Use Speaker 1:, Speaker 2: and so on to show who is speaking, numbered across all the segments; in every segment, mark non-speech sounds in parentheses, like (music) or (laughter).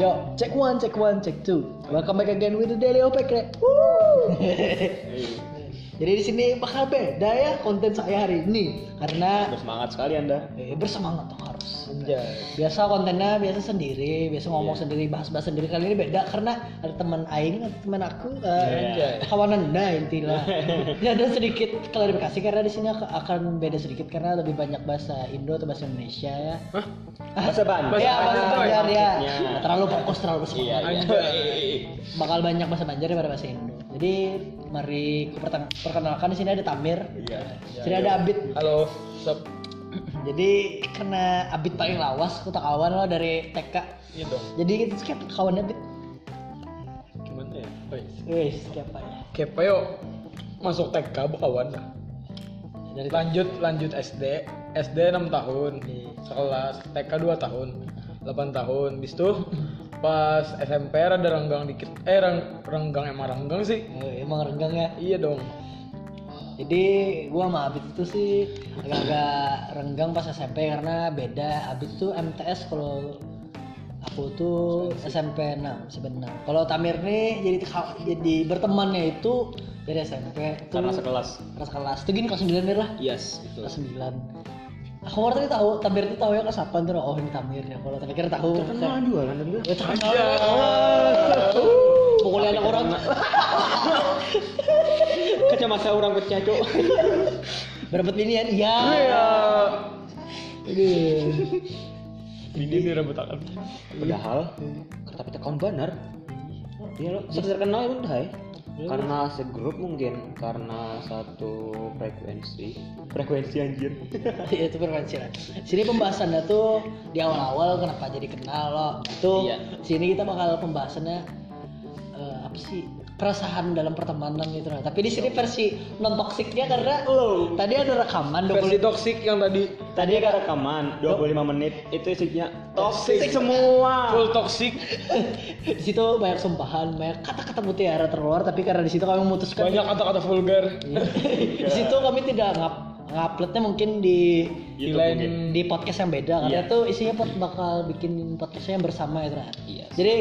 Speaker 1: Yo, check one, check one, check two. Welcome back again with the Daily Opek, Rek. Woo! (laughs)
Speaker 2: Iya.
Speaker 1: Jadi di sini bakal beda ya konten saya hari ini karena
Speaker 2: Bersemangat sekali Anda.
Speaker 1: eh, bersemangat dong harus.
Speaker 2: Anjay.
Speaker 1: Biasa kontennya biasa sendiri, biasa ngomong sendiri, bahas-bahas sendiri. Kali ini beda karena ada teman aing, ada teman aku,
Speaker 2: Anjay.
Speaker 1: eh kawan anda (laughs) intilah. ya ada sedikit klarifikasi karena di sini ak- akan beda sedikit karena lebih banyak bahasa Indo atau bahasa Indonesia ya.
Speaker 3: Hah?
Speaker 2: Bahasa Bandar.
Speaker 3: Bahasa
Speaker 1: ya, bahasa
Speaker 3: Banjar,
Speaker 1: Banjar ya.
Speaker 2: maksudnya.
Speaker 1: Nggak terlalu fokus, terlalu
Speaker 3: Ya,
Speaker 2: Iya.
Speaker 1: semangat.
Speaker 2: iya.
Speaker 1: Bakal banyak bahasa Banjar daripada bahasa Indo. Jadi mari ku pertang- perkenalkan di sini ada Tamir,
Speaker 2: Iya.
Speaker 1: di
Speaker 3: Ya,
Speaker 1: sini ada Abid.
Speaker 3: Halo, sup.
Speaker 1: Jadi karena Abid paling lawas, aku tak kawan lo dari TK.
Speaker 3: Iya dong.
Speaker 1: Jadi itu skep kawannya Abid.
Speaker 3: Gimana ya? Oi.
Speaker 1: Wih, ya? skep aja.
Speaker 3: Kepa yuk masuk TK bukawan lah.
Speaker 1: Dari
Speaker 3: Lanjut lanjut SD. SD 6 tahun. Sekelas TK 2 tahun. 8 tahun. Bis tuh pas SMP ada renggang dikit. Eh reng- renggang emang renggang sih.
Speaker 1: Eh, emang renggang ya.
Speaker 3: Iya dong.
Speaker 1: Jadi gua sama Abid itu sih agak-agak renggang pas SMP karena beda. Abid tuh MTS kalau aku tuh SMP 6 sebenarnya. Kalau Tamir nih jadi jadi bertemannya itu dari SMP tuh
Speaker 2: Karena sekelas.
Speaker 1: kelas kelas. Tuh gini kelas 9 Mir lah.
Speaker 2: Yes, betul.
Speaker 1: Kelas 9. Aku baru tadi tahu Tamir tuh tahu ya kelas 8 tuh oh ini Tamir ya. Kalau tadi kira tahu. bukan.
Speaker 2: jualan Anda.
Speaker 1: Ya terkenal.
Speaker 3: Iya.
Speaker 1: Pokoknya anak orang.
Speaker 2: (laughs) Kacamata orang pecah, Cok.
Speaker 1: Berapa linian? Iya.
Speaker 3: Iya.
Speaker 1: Aduh.
Speaker 3: Ini direbut akan.
Speaker 2: Padahal kertas pecah kawan benar. Iya loh, sudah terkenal ya udah ya. Karena segrup mungkin karena satu frekuensi. Frekuensi anjir.
Speaker 1: (laughs) Iya itu frekuensi lah. Sini pembahasannya tuh di awal-awal kenapa jadi kenal lo. Itu
Speaker 2: Iya.
Speaker 1: sini kita bakal pembahasannya eh, apa sih keresahan dalam pertemanan gitu lah. Tapi di sini
Speaker 3: Iya.
Speaker 1: versi non toksiknya karena tadi ada rekaman 20
Speaker 3: Versi toksik yang tadi
Speaker 2: Tadi ada rekaman 25 menit itu isinya toxic
Speaker 3: Toxic.
Speaker 2: semua.
Speaker 3: full toksik
Speaker 1: di situ banyak sumpahan, banyak kata-kata mutiara terluar tapi karena di situ kami memutuskan
Speaker 3: banyak kata-kata vulgar
Speaker 1: (laughs) di situ kami tidak ngap nguploadnya mungkin di
Speaker 3: di
Speaker 2: YouTube
Speaker 3: lain
Speaker 2: mungkin.
Speaker 1: di podcast yang beda karena
Speaker 2: Iya.
Speaker 1: tuh isinya pot bakal bikin podcastnya yang bersama itu Ra.
Speaker 2: Iya.
Speaker 1: Jadi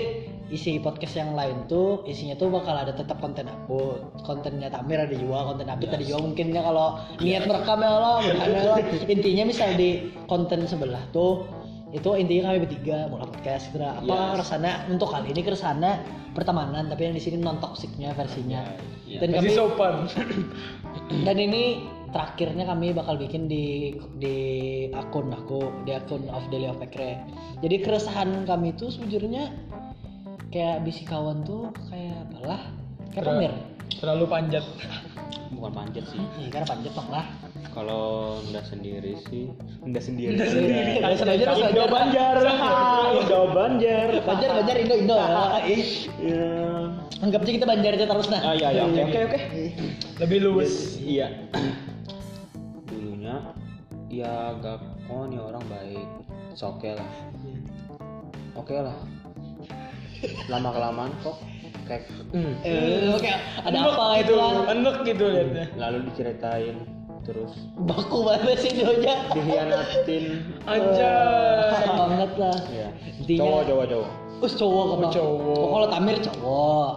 Speaker 1: isi podcast yang lain tuh isinya tuh bakal ada tetap konten aku, kontennya Tamir ada juga, konten Abid ada juga mungkinnya kalau
Speaker 2: Iya.
Speaker 1: niat merekam ya lo, merekam ya lo. Intinya misal di konten sebelah tuh itu intinya kami bertiga mulai podcast gitu Ra. apa
Speaker 2: Yes.
Speaker 1: keresahannya untuk kali ini keresahannya pertemanan tapi yang di sini non toksiknya versinya
Speaker 2: Iya.
Speaker 1: dan
Speaker 3: versi
Speaker 1: kami
Speaker 3: sopan
Speaker 1: dan ini terakhirnya kami bakal bikin di di akun aku di akun of Daily of Ekre. Jadi keresahan kami itu sejujurnya kayak bisi kawan tuh kayak apalah kayak pamer.
Speaker 3: terlalu panjat (laughs)
Speaker 2: Bukan panjat sih.
Speaker 1: Iya karena panjat dong lah.
Speaker 2: Kalau Anda sendiri sih, Anda sendiri.
Speaker 1: Kalau selanjutnya harus
Speaker 2: Indo
Speaker 1: belajar.
Speaker 2: Banjar. Indo Banjar.
Speaker 1: Banjar banjar Indo Indo. Ih,
Speaker 2: Iya.
Speaker 1: Anggap aja kita banjar aja terus nah.
Speaker 2: Ah iya iya oke oke oke.
Speaker 3: lebih luwes
Speaker 2: Iya. Dulunya ya gak oh nih orang baik. It's okay lah. Oke lah. Lama kelamaan kok kayak hmm,
Speaker 1: Eh, oke ada apa
Speaker 3: Enek
Speaker 1: itu
Speaker 3: gitu
Speaker 1: lah.
Speaker 3: enek gitu liatnya
Speaker 2: lalu diceritain terus
Speaker 1: Baku banget sih Indonya.
Speaker 2: dihianatin.
Speaker 3: anjay
Speaker 1: banget lah.
Speaker 2: Iya.
Speaker 1: Intinya-
Speaker 2: Cowok cowok cowok.
Speaker 1: Us cowok apa?
Speaker 3: Oh, cowok.
Speaker 1: Oh, kalau Tamir cowok.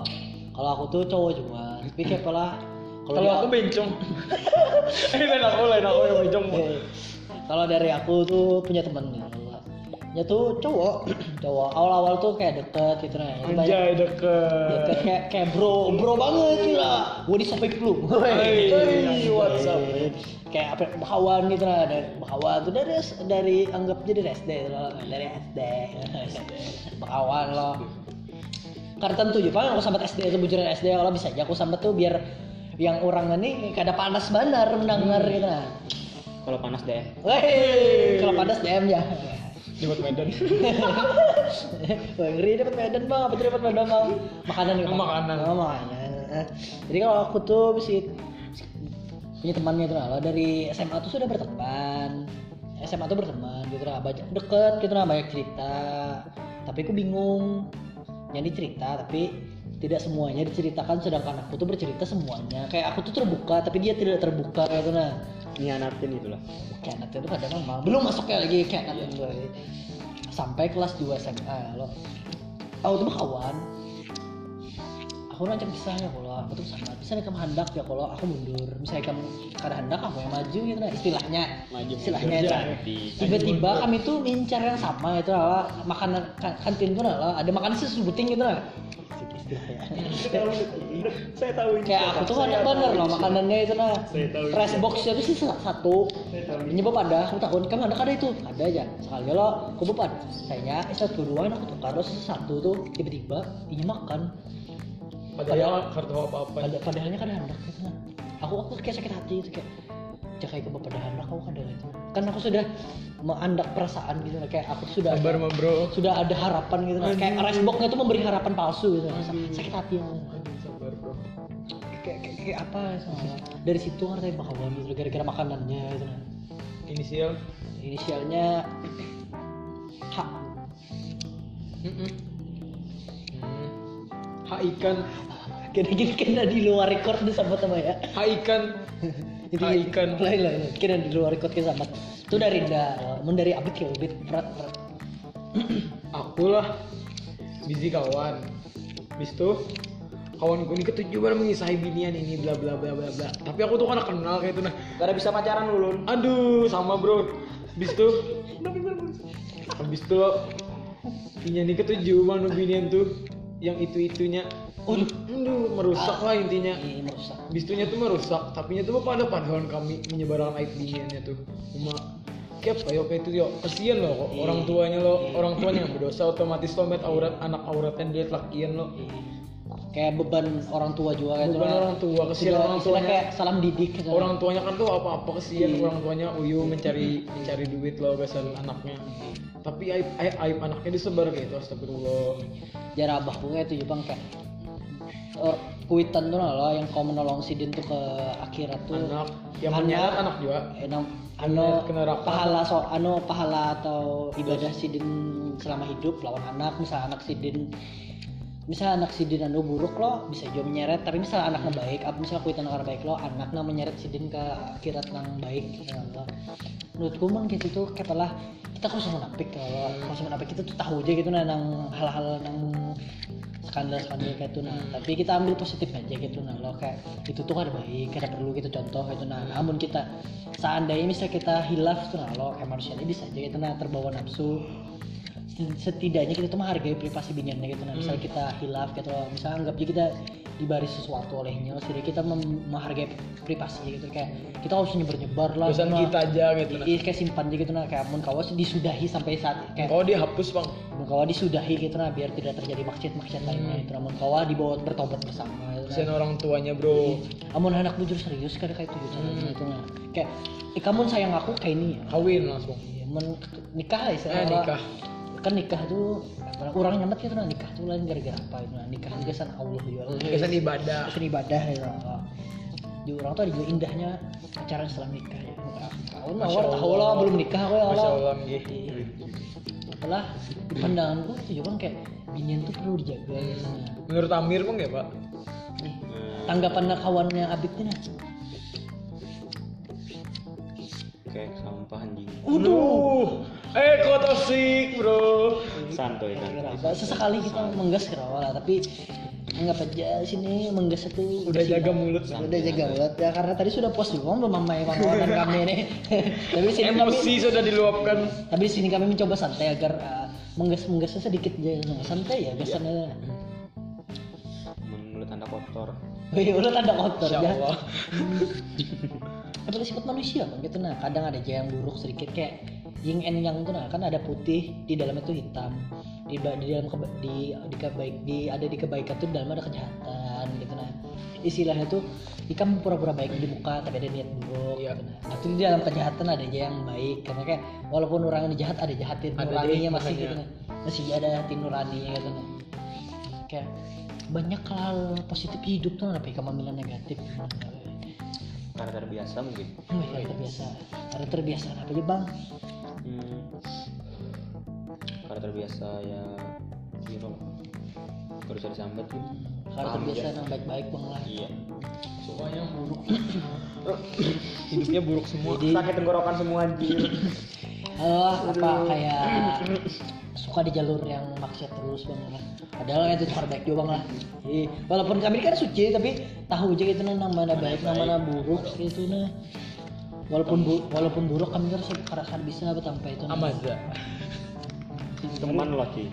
Speaker 1: Kalau aku tuh cowok cuma. Tapi kayak pala kalau
Speaker 3: kalau
Speaker 1: dia-
Speaker 3: aku (laughs) bencong eh lain aku lain aku yang bencong
Speaker 1: Eh, kalau dari aku tuh punya temen nih. Ya tuh cowok, (clears throat) cowok. Awal-awal tuh kayak deket gitu nah.
Speaker 3: anjay
Speaker 1: Ya, kayak,
Speaker 3: deket
Speaker 1: kayak, kayak bro, bro banget gila. Gua di sobek
Speaker 3: (laughs)
Speaker 1: lu.
Speaker 3: Hey,
Speaker 1: Hey,
Speaker 3: what's up,
Speaker 1: hey. gitu. Kayak apa bakawan gitu lah dari bakawan tuh dari dari anggap aja dari SD loh, dari
Speaker 3: (laughs)
Speaker 1: SD. bakawan loh. Karena tentu juga kan aku sambat SD itu bujuran SD kalau bisa aja aku sambat tuh biar yang orang ini kada panas benar mendengar
Speaker 3: Hmm.
Speaker 1: gitu nah.
Speaker 2: Kalau panas deh.
Speaker 1: Woi, kalau panas DM ya.
Speaker 3: jemput (laughs) Medan
Speaker 1: (laughs) Wah, ngeri dapat Medan bang, apa tuh dapat Medan bang? Makanan nih, Bang.
Speaker 3: Makanan.
Speaker 1: Oh, makanan. Eh, Jadi kalau aku tuh sih punya temannya itu lah. Dari SMA tuh sudah berteman. SMA tuh berteman gitu lah, banyak deket gitu lah, banyak cerita. Tapi aku bingung. Yang dicerita tapi tidak semuanya diceritakan sedangkan aku tuh bercerita semuanya kayak aku tuh terbuka tapi dia tidak terbuka kayak gitu nah
Speaker 2: Nyianatin itulah.
Speaker 1: kianat itu kadang memang belum masuknya lagi kianat itu sampai kelas 2 SMA lo aku tuh mah kawan aku rancang pisah ya kalau aku tuh sama misalnya kamu hendak ya kalau aku mundur misalnya kamu kada hendak aku yang maju gitu nah istilahnya
Speaker 2: Maju
Speaker 1: istilahnya
Speaker 2: mundur,
Speaker 1: itu
Speaker 2: cantik.
Speaker 1: tiba-tiba kami tuh ngincar yang sama gitu itu lah makanan kan- kantin tuh lah ada makanan susu buting gitu lah istilahnya
Speaker 2: saya tahu ini
Speaker 1: kayak aku tuh banyak bener loh makanannya itu nah
Speaker 2: Saya tahu itu.
Speaker 1: rice box itu sih salah satu
Speaker 2: Saya tahu
Speaker 1: ini bapak ada aku tahun kamu ada ada itu ada aja sekali lo aku bapak saya satu dua aku tukar lo satu tuh tiba-tiba ini makan
Speaker 3: Padahal kartu apa apa.
Speaker 1: pada padahalnya kan ada hendak gitu nah. aku aku kayak sakit hati itu kayak jakai ke bapak ada hendak aku kan ada itu kan aku sudah mengandak perasaan gitu nah. kayak aku sudah
Speaker 3: Sabar mah bro.
Speaker 1: sudah ada harapan gitu nah. kayak rice boxnya tuh memberi harapan palsu gitu nah. sakit hati aku.
Speaker 3: Aduh, Sabar bro.
Speaker 1: kayak, kayak, kayak apa soalnya dari situ kan saya bakalan gitu gara-gara makanannya gitu nah.
Speaker 3: Inisial.
Speaker 1: inisialnya H
Speaker 3: Mm-mm. Hmm. Hak ikan,
Speaker 1: kira-kira kena di luar record deh sama sama ya
Speaker 3: hak ikan. Hak Ah, ikan.
Speaker 1: lain lain lain. kena di luar record kita sama itu dari da mun dari abit ya abit berat berat
Speaker 3: Aku lah busy kawan. Bis tuh kawanku ini ketujuh baru mengisahi binian ini bla bla bla bla bla. Tapi aku tuh kan kenal kayak itu nah.
Speaker 2: Gak ada bisa pacaran ulun
Speaker 3: Aduh, sama bro. Bis tuh habis itu ini nih ketujuh manu binian tuh yang itu itunya.
Speaker 1: Aduh.
Speaker 3: Aduh, merusak lah intinya.
Speaker 1: ini merusak
Speaker 3: Bistunya tuh merusak, tapinya tuh pada padahal kami menyebarkan aib diniannya tuh. Cuma kayak apa ya kayak itu yo kasihan loh kok orang tuanya lo orang tuanya yang berdosa otomatis lo met aurat anak auratnya dia lakian lo
Speaker 1: kayak beban orang tua juga kayak
Speaker 3: bukan orang tua kasihan orang
Speaker 1: tua
Speaker 3: tuanya
Speaker 1: kayak salam didik gitu.
Speaker 3: orang tuanya kan tuh apa apa kasihan orang tuanya uyu mencari mencari duit lo kesan anaknya tapi aib, aib, aib anaknya disebar kayak itu astagfirullah
Speaker 1: jarah abah gue itu juga kayak or- kuitan tuh lah yang kau menolong si Din tuh ke akhirat tuh
Speaker 3: anak yang
Speaker 1: Anak.
Speaker 3: menyeret anak juga
Speaker 1: enam ano
Speaker 3: Ke neraka.
Speaker 1: pahala so ano pahala atau ibadah sidin selama hidup lawan anak misal anak sidin misal anak sidin anu buruk lo bisa juga menyeret tapi misal anaknya baik apa misal kuitan orang baik lo anaknya menyeret sidin ke akhirat nang baik ya Allah. menurutku mang gitu tuh katalah kita harus menapik kalau harus menapik kita tuh tahu aja gitu nah nang hal-hal nang skandal skandal kayak itu nah tapi kita ambil positif aja gitu nah lo kayak itu tuh kan baik kita perlu gitu contoh gitu nah namun kita seandainya misalnya kita hilaf tuh nah lo kayak manusia ini bisa aja gitu nah terbawa nafsu Seti- setidaknya kita tuh menghargai privasi biniannya gitu nah misalnya kita hilaf gitu loh misalnya anggap aja kita dibari sesuatu olehnya setidaknya kita mem- menghargai privasinya gitu kayak kita nggak usah nyebar nyebar lah
Speaker 3: dosen
Speaker 1: cuma-
Speaker 3: kita aja gitu nah
Speaker 1: Iya kayak simpan aja gitu nah kayak mun kawas disudahi sampai saat kayak
Speaker 3: kau Oh, dihapus bang
Speaker 1: mun kawa disudahi gitu nah biar tidak terjadi maksiat-maksiat lainnya itu namun kawa dibawa bertobat bersama gitu
Speaker 3: kasihan orang tuanya bro
Speaker 1: nah. Amun anak bujur serius kan kayak itu gitu gitu nah. Kayak eh, kamu sayang aku kayak ini ya.
Speaker 3: kawin langsung
Speaker 1: Iya, mun nikah lah
Speaker 3: eh
Speaker 1: istilahnya.
Speaker 3: nikah
Speaker 1: Kan nikah tuh orang nyamet gitu nah nikah tuh lain gara-gara apa itu nah nikah juga san Allah juga.
Speaker 3: kesan ibadah
Speaker 1: Terus ibadah gitu. Di orang tuh ada juga indahnya acara setelah nikah ya. Tahun
Speaker 3: Masya
Speaker 1: awal tahu
Speaker 3: Allah.
Speaker 1: lah belum nikah kok ya
Speaker 3: Masya
Speaker 1: Allah.
Speaker 3: Allah nggih.
Speaker 1: setelah di pandangan gue itu kan kayak binian tuh perlu dijaga gitu. Nah,
Speaker 3: Menurut Amir kok nggak pak?
Speaker 1: nih, tanggapan kawannya Abid nih nah.
Speaker 2: kayak sampah anjing
Speaker 3: Waduh, eh kok toxic bro?
Speaker 2: santuy kan
Speaker 1: Kenapa? sesekali kita menggas kerawa lah tapi nggak aja sini menggas itu
Speaker 3: Udah jaga mulut.
Speaker 1: udah jaga mulut ya karena tadi sudah post juga belum mama Iwan dan kami ini (laughs) tapi di sini kami
Speaker 3: Emosi sudah diluapkan.
Speaker 1: tapi di sini kami mencoba santai agar uh, menggas menggasnya sedikit aja nah, santai ya gasannya
Speaker 3: Iya.
Speaker 2: mulut anda kotor
Speaker 1: Wih, udah tanda kotor
Speaker 3: Insya
Speaker 1: ya.
Speaker 3: Allah.
Speaker 1: Tapi sifat manusia kan gitu nah kadang ada aja yang buruk sedikit kayak yin and yang tuh nah kan ada putih di dalam itu hitam di, ba- di dalam keba- di di kebaik di ada di kebaikan tuh di dalam ada kejahatan gitu nah istilahnya tuh ikan pura-pura baik di muka tapi ada niat buruk
Speaker 3: Iya.
Speaker 1: gitu nah tapi di dalam kejahatan ada aja yang baik karena kayak walaupun orang yang jahat ada jahatin
Speaker 3: Ada
Speaker 1: nuraninya
Speaker 3: deh,
Speaker 1: masih
Speaker 3: makanya.
Speaker 1: gitu nah masih ada hati nuraninya gitu nah kayak banyak hal positif di hidup tuh tapi kamu bilang negatif
Speaker 2: karena terbiasa mungkin
Speaker 1: Wih, luar terbiasa. Karena terbiasa apa aja bang?
Speaker 2: hmm. karena terbiasa ya gitu terus bisa disambat gitu
Speaker 1: Karena terbiasa yang baik-baik bang lah.
Speaker 2: iya
Speaker 3: Semuanya buruk. Hidupnya buruk semua.
Speaker 1: Jadi-
Speaker 2: tenggorokan semua anjir
Speaker 1: Halo, apa kayak suka di jalur yang maksiat terus bang ya. Padahal itu cara baik juga bang lah. Iya. Walaupun kami kan suci tapi tahu aja gitu nah namanya baik, namanya buruk gitu nah. Walaupun bu- walaupun buruk kami harus kerasan bisa sampai itu. nah.
Speaker 3: Amaza.
Speaker 2: (clears throat) teman lu lagi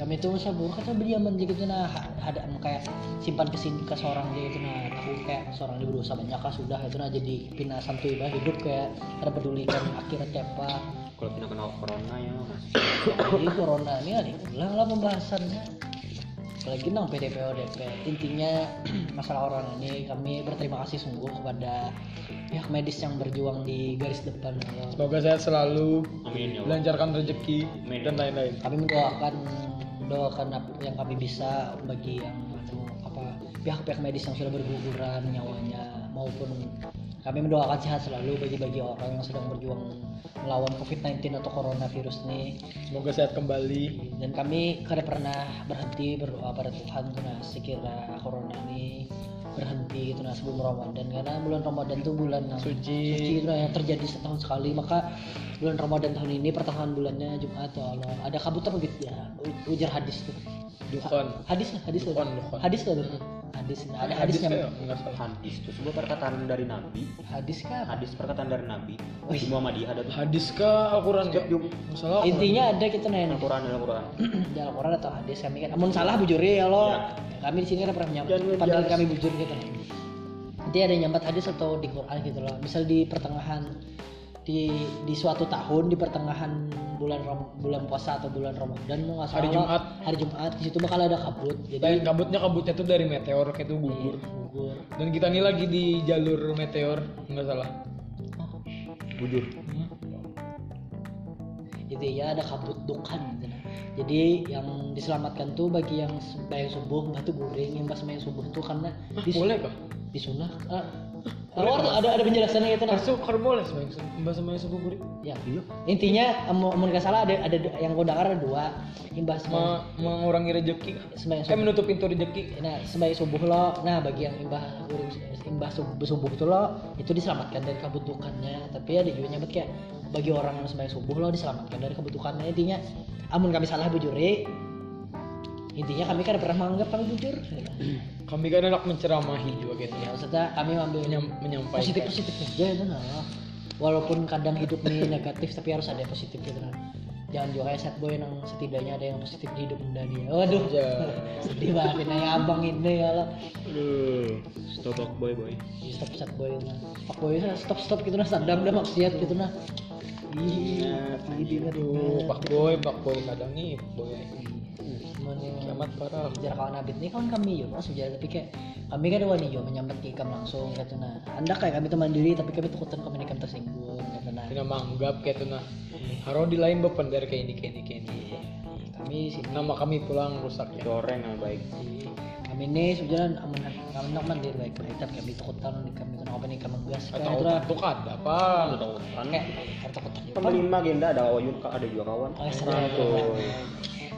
Speaker 1: kami itu usah buruk atau berdiaman aja gitu nah ha- ada em, kayak simpan kesini ke seorang aja gitu nah takut kayak seorang dia berdosa banyak kah sudah itu nah jadi pinasan tuh ibadah hidup kayak ada pedulikan akhirat kayak apa
Speaker 2: kalau kena kena corona ya mas
Speaker 1: ini corona ini ada yang ulang lah pembahasannya apalagi tentang PDP ODP intinya (clears throat) masalah orang ini kami berterima kasih sungguh kepada pihak medis yang berjuang di garis depan ya.
Speaker 3: Semoga saya selalu
Speaker 2: amin ya Allah
Speaker 3: lancarkan rezeki
Speaker 2: Amin.
Speaker 3: dan lain-lain.
Speaker 1: kami mendoakan mendoakan apa yang kami bisa bagi yang apa pihak-pihak medis yang sudah berguguran nyawanya maupun kami mendoakan sehat selalu bagi-bagi orang yang sedang berjuang melawan COVID-19 atau coronavirus ini
Speaker 3: Semoga sehat kembali.
Speaker 1: dan kami kada pernah berhenti berdoa pada Tuhan tuh nah sekira corona ini berhenti gitu nah sebelum Ramadan karena bulan Ramadan tuh bulan yang
Speaker 3: Suci.
Speaker 1: suci gitu nah, yang terjadi setahun sekali maka bulan Ramadan tahun ini pertengahan bulannya Jumat ya Allah ada kabutan gitu ya u- ujar hadis tuh
Speaker 3: Dukun.
Speaker 1: hadis lah, hadis lah.
Speaker 3: Dukun, dukun.
Speaker 1: hadis lah, dukun. hadis nah, ada hadisnya
Speaker 3: Hadis saya nggak salah.
Speaker 2: hadis itu sebuah perkataan dari nabi
Speaker 1: hadis kan
Speaker 2: hadis perkataan dari nabi
Speaker 1: Wih.
Speaker 2: di Muhammadiyah ada tuh
Speaker 3: Hadis kah Al-Quran kah?
Speaker 2: Setiap Jum-
Speaker 3: Masalah Al-Quran.
Speaker 1: intinya ada kita nih
Speaker 2: Al-Quran dan Al-Quran
Speaker 1: di Al-Quran atau hadis kami kan amun salah bujuri ya lo
Speaker 2: Ya.
Speaker 1: kami di sini ada pernah
Speaker 2: Jangan
Speaker 1: menyambat pandangan
Speaker 2: ngejelas.
Speaker 1: kami bujur gitu nanti ada yang nyambat hadis atau di Quran gitu loh misal di pertengahan di di suatu tahun di pertengahan bulan Ram- bulan puasa atau bulan Ramadan mau nggak salah
Speaker 3: Hari Jumat.
Speaker 1: hari Jumat di situ bakal ada kabut
Speaker 3: Lain
Speaker 1: jadi
Speaker 3: kabutnya kabutnya tuh dari meteor kayak itu gugur.
Speaker 1: gugur
Speaker 3: Dan kita ini lagi di jalur meteor, nggak salah. Hmm?
Speaker 2: bujur
Speaker 1: gitu ya ada kabut dukan gitu nah. jadi yang diselamatkan tuh bagi yang bayang subuh batu goreng yang pas main subuh tuh karena
Speaker 3: Hah,
Speaker 1: dis-
Speaker 3: Ah, boleh kah?
Speaker 1: disunah ah, keluar tuh ada ada penjelasannya gitu nah
Speaker 3: Masuk kan boleh sebagai mbak sama Yusuf Bukuri.
Speaker 1: ya intinya mau mau nggak salah ada ada du- yang gue dengar ada dua imbas sembahyang
Speaker 3: Ma- mengurangi rezeki. kah?
Speaker 1: sembahyang
Speaker 3: Eh
Speaker 1: subuh
Speaker 3: menutup pintu rezeki.
Speaker 1: nah sembahyang subuh lo nah bagi yang imbas imbas subuh subuh itu lo itu diselamatkan dari kebutuhannya tapi ada juga nyebut kayak bagi orang yang sembahyang subuh lo diselamatkan dari kebutuhannya intinya amun kami salah bujuri intinya kami kan pernah menganggap kami bujur
Speaker 3: Kami kan anak menceramahi juga gitu.
Speaker 1: ya maksudnya kami ambil
Speaker 3: Menyam- menyampaikan.
Speaker 1: positif positif aja itu nah walaupun kadang hidup nih negatif tapi harus ada yang positif gitu nah jangan juga kayak sad boy yang setidaknya ada yang positif di hidup benda dia waduh
Speaker 3: Ya.
Speaker 1: sedih banget nih abang ini ya lah
Speaker 2: aduh stop boy boy
Speaker 1: stop sad boy nah fuck boy nah, stop stop gitu nah sadam dah maksiat gitu nah ih ini
Speaker 3: Aduh,
Speaker 1: aduh
Speaker 3: Pak Boy, Pak Boy kadang nih, Boy.
Speaker 1: Cuman
Speaker 3: Kiamat parah.
Speaker 1: jarak ya? kawan abit ini kawan kami yo langsung jalan tapi kayak kami kan wani yo menyambat ke ikam langsung kata nah anda kayak kami teman diri tapi kami takutan kami nikam tersinggung kata nah
Speaker 3: Tina manggap kayak tuh nah. Haro di lain bepender kayak ini, kayak ini, kayak ini.
Speaker 1: kami sih
Speaker 3: Nama kami pulang rusak ya.
Speaker 2: goreng yang baik
Speaker 1: Iya. kami ini sebenarnya aman kami nak mandiri baik baik tapi kami takutan kami kena apa nih kami gas
Speaker 3: Atau
Speaker 1: kata
Speaker 3: tuh ada apa?
Speaker 2: atau kan
Speaker 1: gitu kayak kata takutan yo
Speaker 2: pemelima agenda ada wayun Kak, ada juga kawan
Speaker 1: kayak
Speaker 3: Iya,
Speaker 1: serem
Speaker 2: Tuh.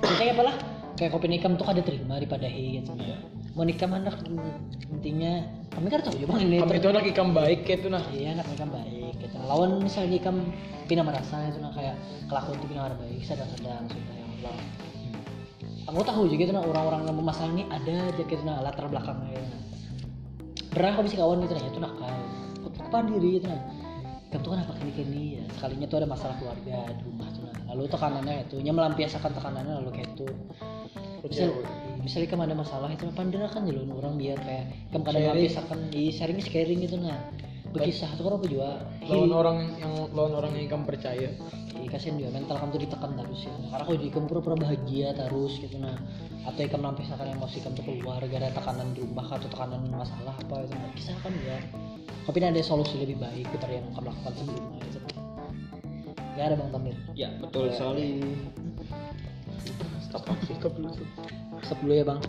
Speaker 1: kita kayak apa lah kayak kopi nikam tuh ada terima di padahi gitu
Speaker 3: Iya.
Speaker 1: mau nikam anak intinya kami kan tahu yo bang ini
Speaker 3: Kami itu anak ikan baik kayak tuh nah.
Speaker 1: iya anak mereka baik gitu lawan misalnya ikam pina merasa itu nah kayak kelakuan itu pina orang baik sadar sadar sudah yang ulang aku tahu juga itu nah orang-orang yang bermasalah ini ada aja gitu nah latar belakangnya gitu, nah. pernah aku bisa kawan gitu nah itu nah kayak kepaan diri gitu nah kamu tuh kenapa kayak gini ya sekalinya tuh ada masalah keluarga di rumah tuh nah lalu tekanannya itu nya melampiaskan tekanannya lalu kayak itu misal
Speaker 3: Iya,
Speaker 1: misalnya kamu ada masalah itu pandera kan jalan orang biar kayak kamu kadang
Speaker 3: Sharing.
Speaker 1: melampiaskan di sharing sharing gitu nah berkisah tuh kan apa juga
Speaker 3: Lawan orang yang lawan orang yang kamu percaya.
Speaker 1: Iya kasihan juga mental kamu tuh ditekan terus ya karena kalau kamu pura-pura bahagia terus gitu nah atau kamu melampiaskan emosi kamu tuh keluar gak ada tekanan di rumah atau tekanan masalah apa itu nah, kisah kan ya tapi ini ada solusi lebih baik dari yang kamu lakukan sebelumnya gitu gak ada bang Tamir
Speaker 2: ya betul sekali stop toxic
Speaker 3: Stop dulu.
Speaker 1: stop dulu
Speaker 2: (laughs)
Speaker 1: ya bang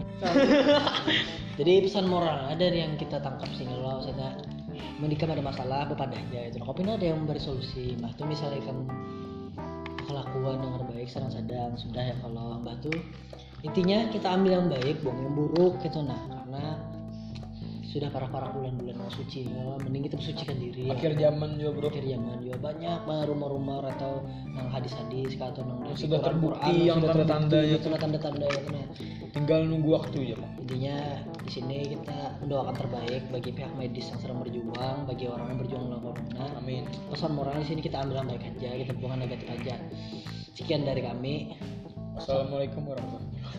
Speaker 1: jadi pesan moral dari yang kita tangkap sini loh maksudnya menikah ada masalah bepadanya itu nah, kopi ini ada yang memberi solusi mah tuh misalnya kamu kelakuan dengan baik sadang-sadang sudah ya kalau mbah tuh intinya kita ambil yang baik buang yang buruk gitu nah karena sudah parah-parah bulan-bulan mau suci ya. mending kita bersucikan diri
Speaker 3: akhir zaman juga bro
Speaker 1: akhir zaman juga banyak banget rumor-rumor atau nang hadis-hadis atau nang dari
Speaker 3: sudah
Speaker 1: Quran-
Speaker 3: terbukti,
Speaker 1: Quran,
Speaker 3: yang
Speaker 1: sudah terbukti,
Speaker 3: tanda-tandanya.
Speaker 1: yang sudah tanda-tanda ya benar.
Speaker 3: tinggal nunggu waktu ya
Speaker 1: intinya di sini kita mendoakan terbaik bagi pihak medis yang sedang berjuang bagi orang yang berjuang melawan corona
Speaker 3: amin
Speaker 1: pesan moral di sini kita ambil yang baik aja kita buang yang negatif aja sekian dari kami
Speaker 3: assalamualaikum warahmatullahi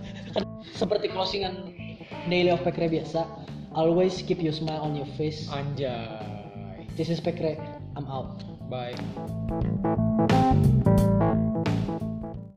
Speaker 1: seperti closingan daily of Pekre biasa always keep your smile on your face
Speaker 3: wabarakatuh anjay
Speaker 1: this is Pekre I'm out
Speaker 3: bye